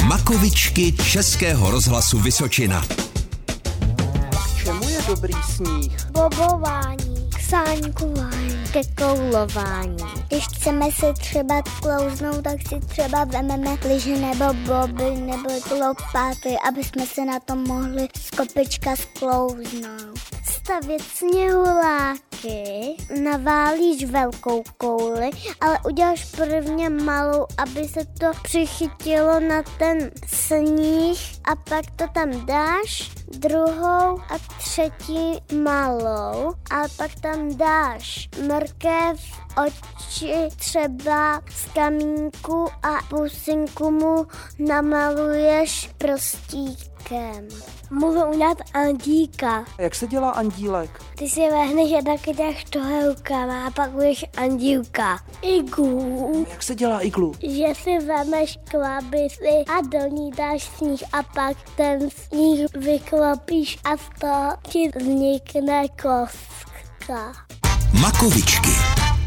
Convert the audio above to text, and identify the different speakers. Speaker 1: Píkovičky Českého rozhlasu Vysočina.
Speaker 2: K čemu je dobrý sníh?
Speaker 3: bobování, sáňkování, ke koulování. Když chceme se třeba klouznout, tak si třeba vememe lyže nebo boby nebo lopáty, aby jsme se na to mohli z kopička sklouznout. Stavět sněhuláky, naválíš velkou kouli, ale uděláš prvně malou, aby se to přichytilo na ten sníh a pak to tam dáš druhou a třetí malou a pak tam dáš mrkev, oči třeba z kamínku a pusinku mu namaluješ prostíkem. Můžu udělat andíka.
Speaker 2: Jak se dělá andílek?
Speaker 3: Ty si vehneš jedna kytách toho rukama a pak budeš andílka. Iglu.
Speaker 2: Jak se dělá iglu?
Speaker 3: Že si vemeš klabici a do ní dáš sníh a pak ten sníh vyklopíš a z toho ti vznikne kostka.
Speaker 1: Makovičky.